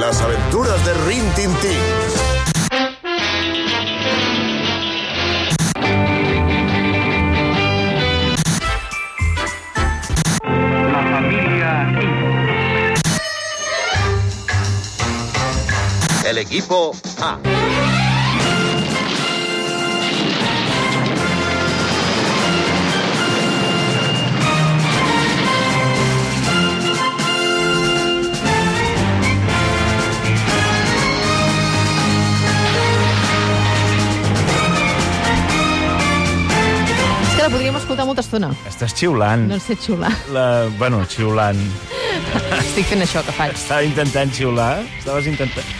Las aventuras de Rin Tin Tin. La familia El equipo A. És que la podríem escoltar molta estona. Estàs xiulant. No en sé xiular. La... Bueno, xiulant. Estic fent això que faig. Estava intentant xiular. Estaves intentant...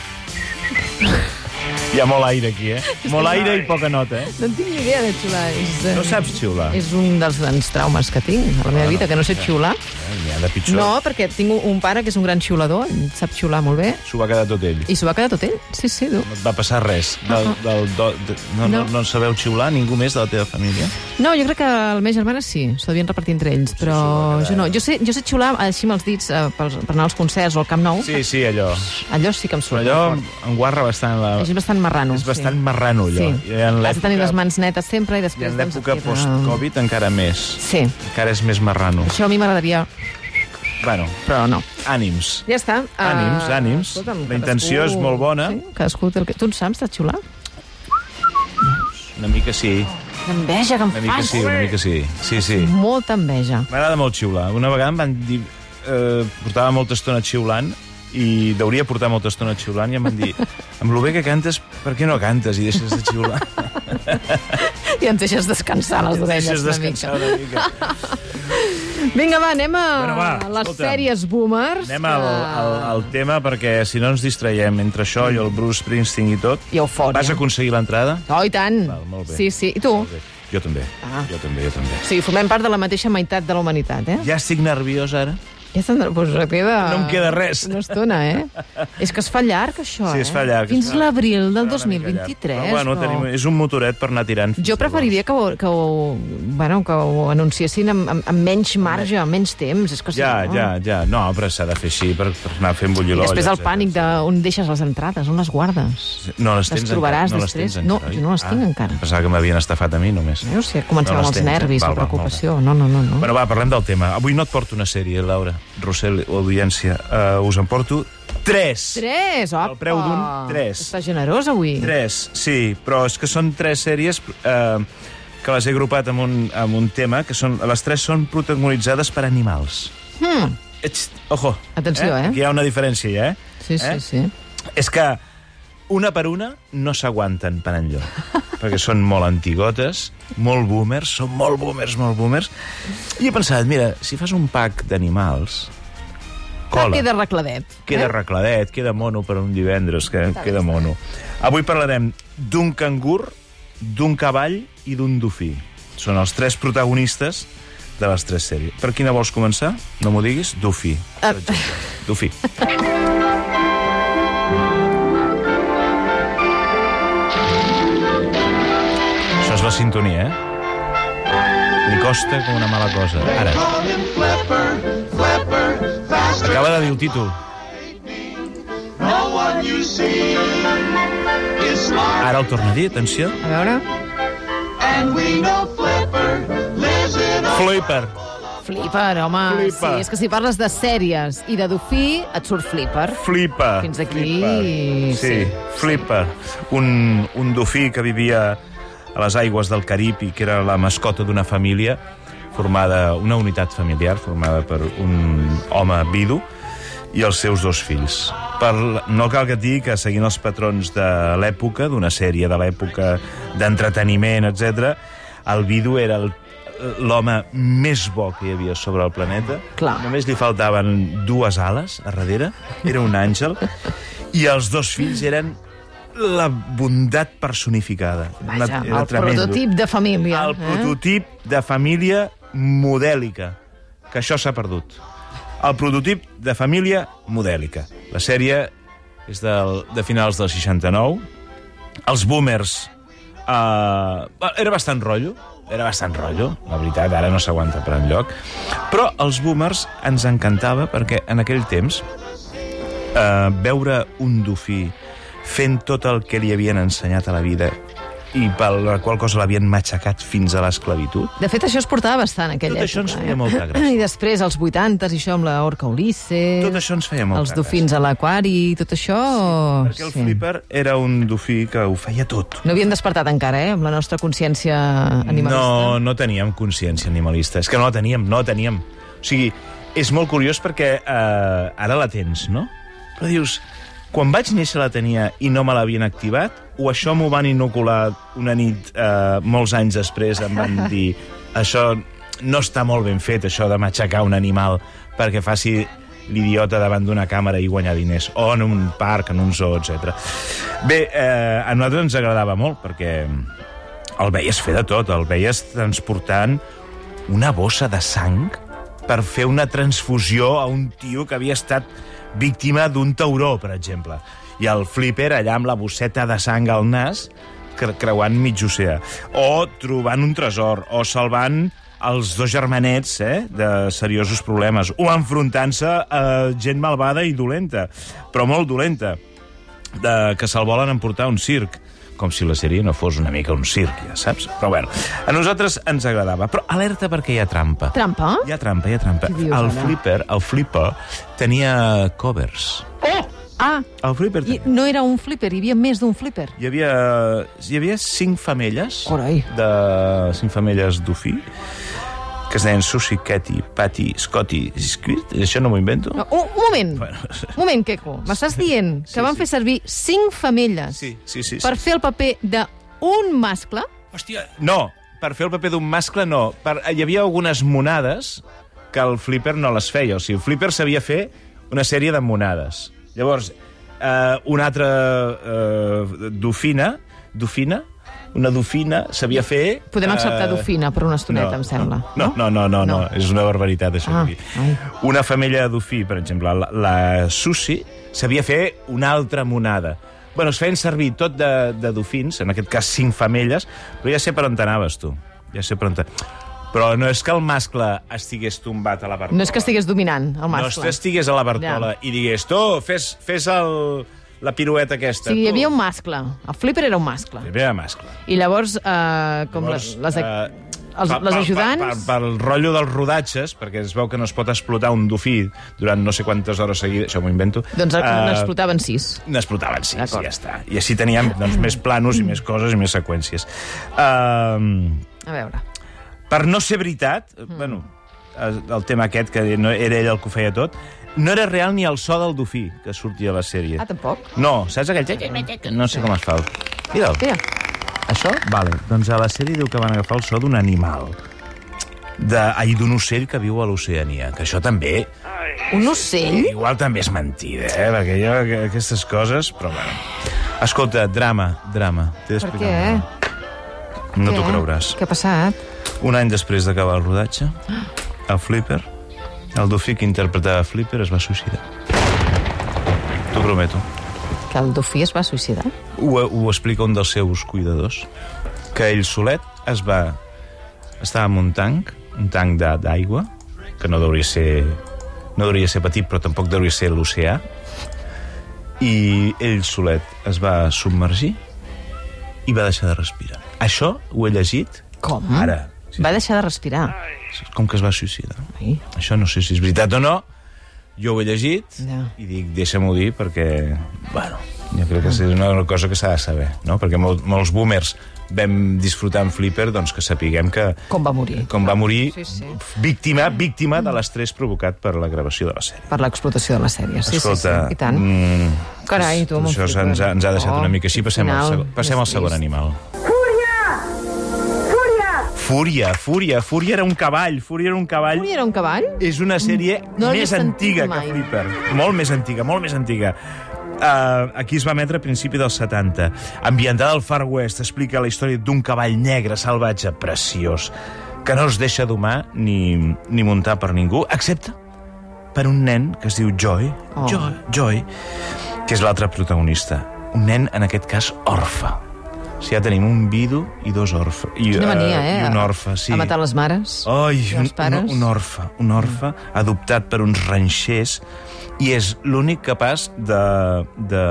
Hi ha molt aire aquí, eh? Molt aire i poca nota, eh? No en tinc ni idea de xiular. És, eh, No Ah, saps xiular. És un dels grans traumes que tinc a la meva vida, que no sé xiular. N'hi ha de pitjor. No, perquè tinc un- un pare que és un gran xiulador, sap xiular molt bé, S'ho va quedar tot ell. i s'ho va quedar tot ell. Sí, sí, du. No et va passar res. Del, del, do, de, Ah. no, no. No. no en sabeu xiular ningú més de la teva família? No, jo crec que el meu germana sí, s'ho devien repartir entre ells, però jo no. Jo sé, jo sé xiular així amb els dits eh, per, per anar als concerts o al Camp Nou. Sí, sí, allò. Allò sí que em surt. Allò molt fort. em guarra bastant la... És bastant marrano. És bastant marrano, allò. Sí. I en Has de tenir l'època- les mans netes sempre i I després... en doncs, l'època et queda- post-Covid encara més. Sí, Encara és més marrano. això a mi m'agradaria, Bueno, però no. ànims. Ja està. Ah, Ànims, ànims. La intenció és molt bona. Sí, cadascú té el que... Tu en saps de xiular? Una mica sí, Enveja que em una mica fas. sí, una mica sí. Sí, sí. Molta enveja. M'agrada molt xiular. Una vegada em van dir... Eh, portava molta estona xiulant i deuria portar molta estona xiulant i em van dir amb lo bé que cantes, per què no cantes i deixes de xiular? I ens deixes descansar les orelles deixes una descansar una mica. mica. Vinga, va, anem a Bueno, va, a les escolta'm. sèries boomers. Anem al, al, al tema perquè si no ens distraiem entre això i el Bruce Springsteen i tot. I eufòria. Vas aconseguir l'entrada? Oh, i tant. Val, molt bé. Sí, sí. I tu? Molt bé. Jo també, Ah. jo també, jo també. O sigui, formem part de la mateixa meitat de la humanitat, eh? Ja estic nerviós ara. Ja se'n pues, queda... No em queda res. Una estona, eh? És que es fa llarg, això, Sí, eh? es fa llarg, Fins es fa- l'abril del Serà una mica llarg. 2023. Però, bueno, no? tenim, és un motoret per anar tirant. fins Jo llavors. preferiria que ho, que ho, bueno, que ho anunciessin amb, amb, amb menys marge, amb menys temps. És que si Ja, no... ja, ja. No, però s'ha de fer així per, per anar fent bullir I l'olla. després el etcètera. pànic de on deixes les entrades, on les guardes. No les tens Les trobaràs encara. després? No, No, les tens encara, oi? jo no les tinc ah, encara. em Pensava que m'havien estafat a mi només. Eh? O sigui, començava No amb les els tens, eh? nervis, Val, la val, molt preocupació. No, no, no. no. Bueno, va, parlem del tema. Avui no et porto una sèrie, Laura, Rossell, audiència. Uh, us en porto tres. Tres, opa! El preu d'un, tres. Està generós, avui. Tres, sí, però és que són tres sèries uh, que les he agrupat amb un, amb un tema, que són, les tres són protagonitzades per animals. Hmm. Ets, ojo. Atenció, eh? Aquí hi ha una diferència, ja, eh? Sí, sí, Eh? sí. És que una per una no s'aguanten per enlloc, perquè són molt antigotes, molt boomers, són molt boomers, molt boomers. I he pensat, mira, si fas un pack d'animals, Cola. cola, Queda eh? arregladet. queda arregladet, queda mono per un divendres, que bé, queda està mono. Avui parlarem d'un cangur, d'un cavall i d'un dofí. Són els tres protagonistes de les tres sèries. Per quina vols començar? No m'ho diguis? Dofí. Ah. Dofí. Això és la sintonia, eh? Li costa com una mala cosa. Ara. Acaba de dir el títol. Ara el torna a dir, atenció. A veure, Flipper. flipper, home. Flipper. Sí, és que si parles de sèries i de dofí, et surt flipper. Flipper. Fins aquí, Flipper. Sí, sí. Flipper. Un, un dofí que vivia a les aigües del Carib i que era la mascota d'una família formada, una unitat familiar formada per un home vidu i els seus dos fills. Per, no cal que et digui que seguint els patrons de l'època, d'una sèrie de l'època d'entreteniment, etc, el vidu era el- l'home més bo que hi havia sobre el planeta. Clar. Només li faltaven dues ales a darrere, era un àngel, i els dos fills eren la bondat personificada. Una- Vaja, era el tremendo. prototip de família. eh? El prototip de família modèlica, que això s'ha perdut. El prototip de família modèlica. La sèrie és del, de finals del 69. Els boomers... Eh, era bastant rotllo, era bastant rotllo, la veritat, ara no s'aguanta per enlloc. Però els boomers ens encantava perquè en aquell temps eh, eh, veure un dofí fent tot el que li havien ensenyat a la vida i per la qual cosa l'havien matxacat fins a l'esclavitud, De fet, això es portava bastant, en aquella Tot això època. ens feia eh? molta gràcia. I després, als 80, i això amb la Orca Ulisses... tot això ens feia molta Eh, Els dofins a l'aquari, tot això... Perquè el Flipper era un dofí que ho feia tot. No havíem despertat encara, eh?, amb la nostra consciència animalista. No, no teníem consciència animalista. És que no la teníem, no la teníem. O sigui, és molt curiós perquè eh, ara la tens, no? Però dius, quan vaig néixer la tenia i no me l'havien activat, o això m'ho van inocular una nit eh, molts anys després, em van dir, això no està molt ben fet, això de matxacar un animal perquè faci l'idiota davant d'una càmera i guanyar diners, o en un parc, en un zoo, etc. Bé, eh, a nosaltres ens agradava molt, perquè el veies fer de tot, el veies transportant una bossa de sang per fer una transfusió a un tio que havia estat víctima d'un tauró, per exemple. I el flipper allà amb la bosseta de sang al nas cre- creuant mig oceà. O trobant un tresor, o salvant els dos germanets eh, de seriosos problemes, o enfrontant-se a gent malvada i dolenta, però molt dolenta de, que se'l volen emportar a un circ com si la sèrie no fos una mica un circ, ja saps? Però bueno, a nosaltres ens agradava. Però alerta perquè hi ha trampa. Trampa? Hi ha trampa, hi ha trampa. Què dius, el ara? Flipper, el Flipper tenia covers. Ah, El Flipper i tenia... no era un flipper, hi havia més d'un flipper. Hi havia, hi havia cinc femelles Carai. de cinc femelles d'Ofí que es deien Susie, Katy, Patty, Scotty, Squid, això no m'ho invento? No, un, un moment, Bueno. un moment, Queco. M'estàs dient que Sí, van sí. fer servir cinc femelles Sí, sí, sí. sí. per fer el paper d'un mascle? No, per fer el paper d'un mascle no. Per... Hi havia algunes monades que el Flipper no les feia. O sigui, el Flipper sabia fer una sèrie de monades. Llavors, eh, una altra eh, dofina, dofina, una dofina sabia fer... Podem acceptar eh, dofina per una estoneta, em sembla. No, no, no, no, no, no. és una barbaritat, això. Ah, Ah, ai. una femella dofí, per exemple, la, la Susi, sabia fer una altra monada. Bueno, es feien servir tot de, de dofins, en aquest cas cinc femelles, però ja sé per on t'anaves, tu. Ja sé per on t'anaves. Però no és que el mascle estigués tombat a la barcola. No és que estigués dominant el No mascle. és que estigués a la barcola ja. i digués, tu, fes, fes el, la pirueta aquesta. O sigui, hi tu." havia un mascle. El flipper era un mascle. Hi havia mascle. I llavors, eh, com Llavors, les, les, eh, els, les per- per- ajudants... Per, per, pel rotllo dels rodatges, perquè es veu que no es pot explotar un dofí durant no sé quantes hores seguides, això m'ho invento. Doncs uh, eh, n'explotaven sis. N'explotaven, sí, sí, D'acord. ja està. I així teníem doncs, més planos i més coses i més seqüències. Uh, A veure. per no ser veritat, mm. bueno, eh, el tema aquest, que no era ell el que ho feia tot, no era real ni el so del dofí que sortia a la sèrie. Ah, tampoc? No, saps aquell... tic, tic, tic, No sé com es fa. Mira'l. Mira, Això? Vale, doncs a la sèrie diu que van agafar el so d'un animal. De, ai, d'un ocell que viu a l'Oceania, que això també... un ocell? Igual també és mentida, eh? Perquè jo, aqu- aquestes coses... Però, bueno. Escolta, drama, drama. Per T'he d'explicar què? eh? un drama. No Què? t'ho creuràs. Què ha passat? Un any després d'acabar el rodatge, a Flipper, el dofí que interpretava Flipper es va suïcidar. T'ho prometo. Que el dofí es va suïcidar? ho, ho explica un dels seus cuidadors, que ell solet es va... Estava en un tanc, un tanc de- d'aigua, que no deuria ser... No deuria ser petit, però tampoc deuria ser l'oceà. I ell solet es va submergir i va deixar de respirar. Això ho he llegit Com? ara. Sí, Va deixar de respirar. com que es va suïcidar. Ai. Això no sé si és veritat o no. Jo ho he llegit Ja. i dic, deixa-m'ho dir, perquè, bueno, jo crec que és una cosa que s'ha de saber, no? Perquè mol, molts boomers vam disfrutar en Flipper, doncs que sapiguem que... Com va morir? Com va morir, Sí, Mm. sí. víctima, víctima de l'estrès provocat per la gravació de la sèrie. Per l'explotació de la sèrie. Sí, Escolta, sí, sí. I tant. Mm, Carai, tu, això Montfort, ens, ha- ens ha deixat oh, una mica així. Passem, final, al, segon, passem al més segon trist. animal. Fúria! Fúria! Fúria, Fúria, Fúria era un cavall, Fúria era un cavall Ui, era un cavall? és una sèrie Mm. No no l'he més sentit antiga mai. que Flipper. Molt més antiga, molt més antiga. Uh, aquí es va emetre a principi dels 70. Ambientada al Far West, explica la història d'un cavall negre salvatge preciós que no es deixa domar ni, ni muntar per ningú, excepte per un nen que es diu Joy. Oh. Oh. Joy, Joy, que és l'altre protagonista. Un nen, en aquest cas, orfe. Si ja tenim un vidu i dos orfe. I, Quina mania, eh? eh? I un orfe, sí. Oh, A matar les mares. Ai, i un, els pares. un, un orfe, un orfe adoptat per uns ranxers i és l'únic capaç de, de,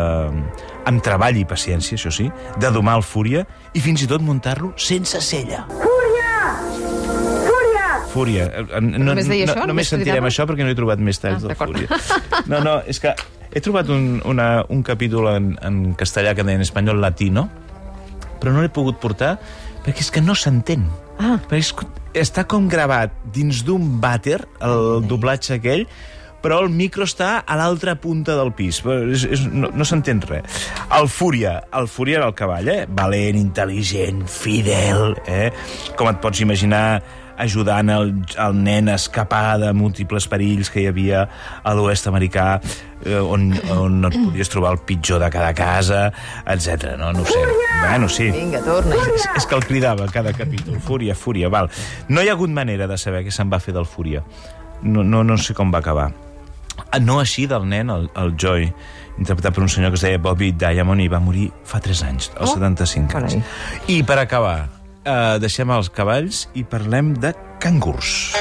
amb treball i paciència, això sí, de domar el fúria i fins i tot muntar-lo sense cella. Fúria! Eh, eh, No, Només deia això? No, Només només sentirem cridava? això perquè no he trobat més Ah, talls ah, de d'acord. Fúria. No, no, és que he trobat un, una, un capítol en, en castellà que en deia en espanyol latino, però no l'he pogut portar perquè és que no s'entén. Ah. Perquè és, està com gravat dins d'un vàter, el doblatge aquell, però el micro està a l'altra punta del pis. És, és, no no s'entén res. El Fúria. El Fúria era el cavall, eh? Valent, intel·ligent, fidel, eh? Com et pots imaginar ajudant el, el nen a escapar de múltiples perills que hi havia a l'oest americà, eh, on, on et podies trobar el pitjor de cada casa, etc. No, no ho sé. Bueno, sí. Vinga, torna. És, és que el cridava a cada capítol. Fúria, fúria, val. No hi ha hagut manera de saber què se'n va fer del Fúria. No, no, no sé com va acabar. Ah, No així del nen, el, el Joy, interpretat per un senyor que es deia Bobby Diamond i va morir fa 3 anys, als Oh, 75 anys. carai. I per acabar, eh, deixem els cavalls i parlem de cangurs.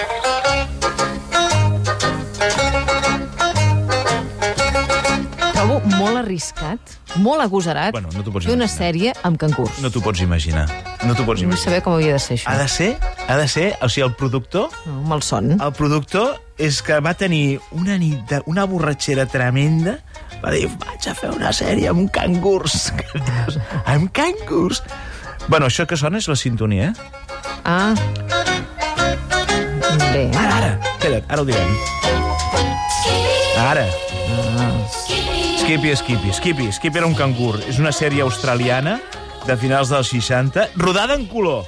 Trobo molt arriscat, molt agosarat, Bueno, no t'ho pots fer una imaginar. sèrie amb cangurs. No t'ho pots imaginar. No t'ho pots Vull imaginar. saber com havia de ser això. Ha de Ah. ser, ha de ser, o sigui, el productor No, malson. El productor és que va tenir una nit, de, una borratxera tremenda, va dir, vaig a fer una sèrie amb cangurs. amb cangurs? Bueno, això que sona és la sintonia, eh? Ah. Bé. Ara, ara, queda't, ara ho direm. Ara. Skippy, Skippy, Skippy, Skippy era un cangur. És una sèrie australiana de finals dels 60, rodada en color.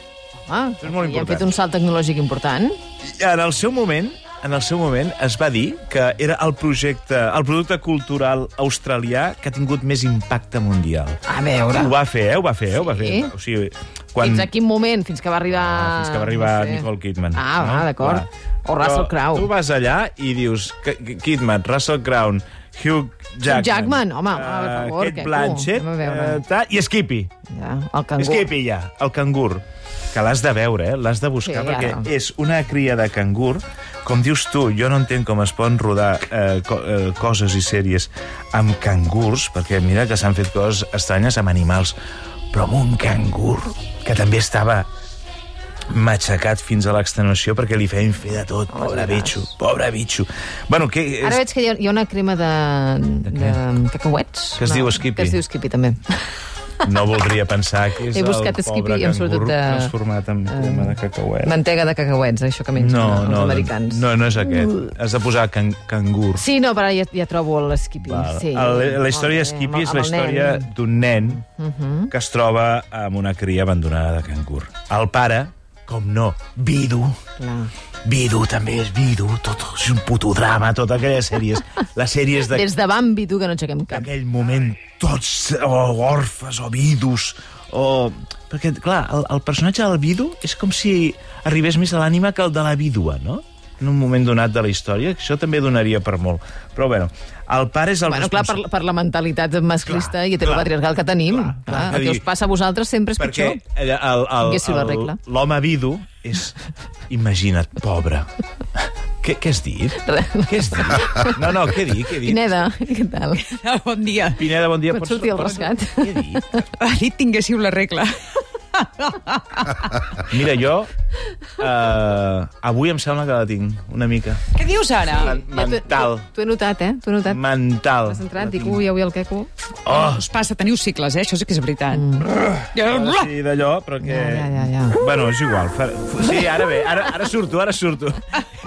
Ah, és molt ja hem important. fet un salt tecnològic important. I en el seu moment en el seu moment es va dir que era el projecte, el producte cultural australià que ha tingut més impacte mundial. A veure. Ho va fer, eh? Ho va fer, eh? Ho va fer. Sí. O sigui, quan... Fins a quin moment? Fins que va arribar... Ah, fins que va arribar Nicole Kidman. Ah, va, d'acord. Clar. O Russell Però Crowe. Tu vas allà i dius que- que Kidman, Russell Crowe, Hugh Jackman... Jackman, home, eh, home, per favor, Cate que- Blanchett, tu, anem a veure. eh, tal, i Skippy. Ja, el cangur. Skippy, ja, el cangur. Que l'has de veure, eh? L'has de buscar, Sí, perquè ara. és una cria de cangur. Com dius tu, jo no entenc com es poden rodar eh, co eh, coses i sèries amb cangurs, perquè mira que s'han fet coses estranyes amb animals, però amb un cangur, que també estava matxacat fins a l'extenuació perquè li feien fer de tot, pobre bitxo, pobre bitxo. Bueno, què... És... Ara veig que hi ha, hi ha una crema de, de, què? cacauets. Que es diu Skippy. Que es diu Skippy, també. No voldria pensar que és He buscat el Skippy pobre i em surt cangur de- Eh. transformat en crema de cacauet. Mantega de cacauets, això que mengen Eh? No, els no, doncs americans. Mm. No, no és aquest. Has de posar can cangur. Sí, no, però ja, ja trobo l'Skippy. Val. Sí, El, la història Molt bé, Skippy amb- és la amb el història nen. Mhm. d'un nen que es troba amb una cria abandonada de cangur. El pare, com no, vidu, Clar. vidu també és vidu, tot és un puto drama, totes aquelles sèries. Les sèries de Des de Bambi, tu, que no aixequem cap. d'aquell moment tots o orfes o vidus o... Perquè, clar, el, el personatge del vidu és com si arribés més a l'ànima que el de la vídua, no? En un moment donat de la història, que això també donaria per molt. Però, bueno, el pare és el... Bueno, clar, per, responsable- per la mentalitat masclista Clar, i heteropatriarcal que tenim. Clar, clar, clar, clar, el que que us dir- passa a vosaltres sempre és perquè pitjor. el- el- el- Tinguéssiu la el- regla. L'home vidu és... Imagina't, pobre. Què, què has dit? Res. Què has dit? No, no, què dic? Què dic? Pineda, què tal? Ah, Bon dia. Pineda, bon dia. Pot sortir el rascat. Què dic? Ha dit tinguéssiu la regla. Mira, jo eh, avui em sembla que la tinc, una mica. Què dius ara? Men- Mental. T'ho he notat, eh? T'ho he notat. Mental. Has entrat, dic, ui, avui el queco. Oh! Us passa, teniu cicles, eh? Això sí que és veritat. Mm. Sí, d'allò, però que... Ja, ja, ja, ja. Uh! Bueno, és igual. Fa... Sí, ara bé, ara, ara surto, ara surto.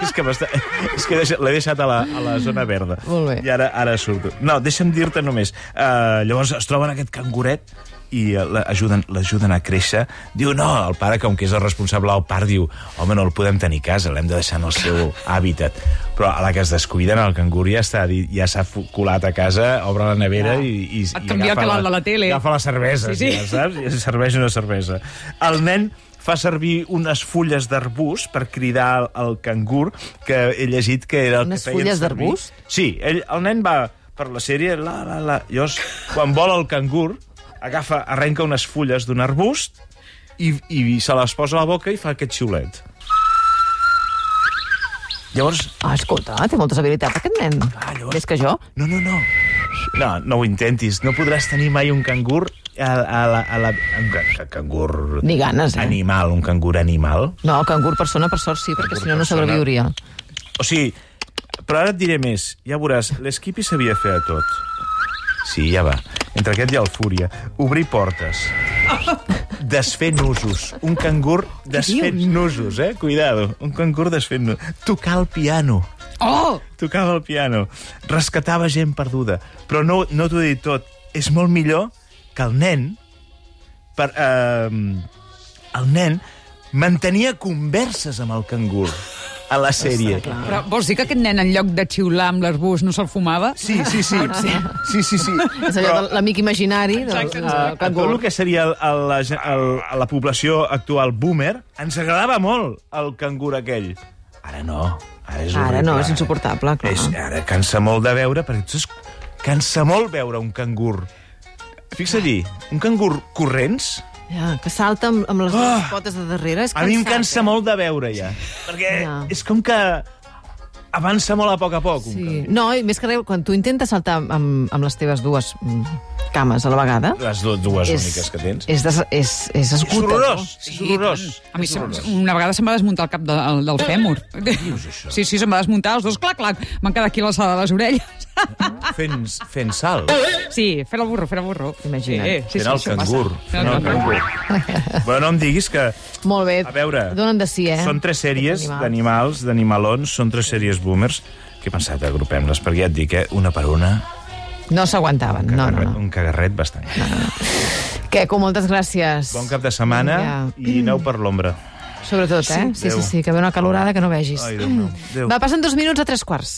És que, m'està- és que he deixat- l'he deixat a la, a la zona verda. Molt bé. I ara, ara surto. No, deixa'm dir-te només. Uh, llavors es troben aquest canguret i eh, l'ajuden l'ajuden a créixer. Diu, no, el pare, com que és el responsable del parc, diu, home, no el podem tenir a casa, l'hem de deixar en el seu hàbitat. Però a la que es descuiden, el cangur ja està, di- ja s'ha fu- colat a casa, obre la nevera i, i, Et i canvia el agafa canal de la tele. Agafa la cervesa, Sí, sí. ja saps? I serveix una cervesa. El nen fa servir unes fulles d'arbust per cridar el cangur, que he llegit que era el Unes que feien fulles servir. d'arbust? Sí, ell, el nen va per la sèrie, la, la, la. Llavors, quan vola el cangur, agafa, arrenca unes fulles d'un arbust i, i se les posa a la boca i fa aquest xiulet. Llavors, Ah, escolta, té moltes habilitats aquest nen. Ah, llavors- Més que jo. no, no, no. No, no ho intentis. No podràs tenir mai un cangur a, a, la, a la... Un ca- ca- cangur... Ni ganes, eh? Animal, un cangur animal. No, cangur persona per sort sí, perquè Cangur si no no persona. sobreviuria. O sigui, però ara et diré més. Ja veuràs, l'Skippy sabia fer a tot. Sí, ja va. Entre aquest i el Fúria. Obrir portes. Desfer nusos. Un cangur desfent dius? nusos, eh? Cuidado. Un cangur desfent nusos. Tocar el piano. Oh! tocava el piano, rescatava gent perduda. Però no, no t'ho he dit tot. És molt millor que el nen... Per, eh, el nen mantenia converses amb el cangur a la sèrie. Però vols dir que aquest nen, en lloc de xiular amb l'arbust, no se'l fumava? Sí, sí, sí. Sí, sí, sí. És allò de l'amic imaginari del, Exacte, del A exacte. tot cangur. el que seria el, el, la gen- el, a la població actual boomer, ens agradava molt el cangur aquell. Ara no. Ara, és Ara horrible, no, és insuportable, clar. És, ara cansa molt de veure, perquè tu es- cansa molt veure un cangur. Fixa-t'hi, un cangur corrents, Ja, que salta amb, amb les Ah! dues potes de darrere. És a mi em cansat, cansa eh? molt de veure, ja. Perquè Ja. és com que avança molt a poc a poc. Un Sí. cangur. No, i més que res, quan tu intentes saltar amb, amb les teves dues mm, cames a la vegada... Les dues, dues és, úniques que tens. És, des, és, és És esgotador. horrorós, és horrorós. A mi se- una vegada se'm va desmuntar el cap de, el, del fèmur. Sí, sí, se'm va desmuntar els dos, clac, clac. M'han quedat aquí a l'alçada de les orelles. Fent, fent salt, Sí, fer el burro, fer el burro. Imagina't. Sí, sí, fent sí, el això passa. cangur. Fent el cangur. Però no em diguis que Molt bé. A veure, Donen de si, eh? Són tres sèries Animals. d'animals, d'animalons, són tres sèries boomers, que he pensat, agrupem-les, perquè ja et dic, eh, una per una, No s'aguantaven. No, no, cagarret, no. un cagarret bastant. Queco, moltes gràcies. Bon cap de setmana i aneu per l'ombra. Sobretot, eh? Sí, sí, Adéu. sí, que ve una calorada que no vegis. Ai, Déu meu. Adéu. Va, passen dos minuts a tres quarts.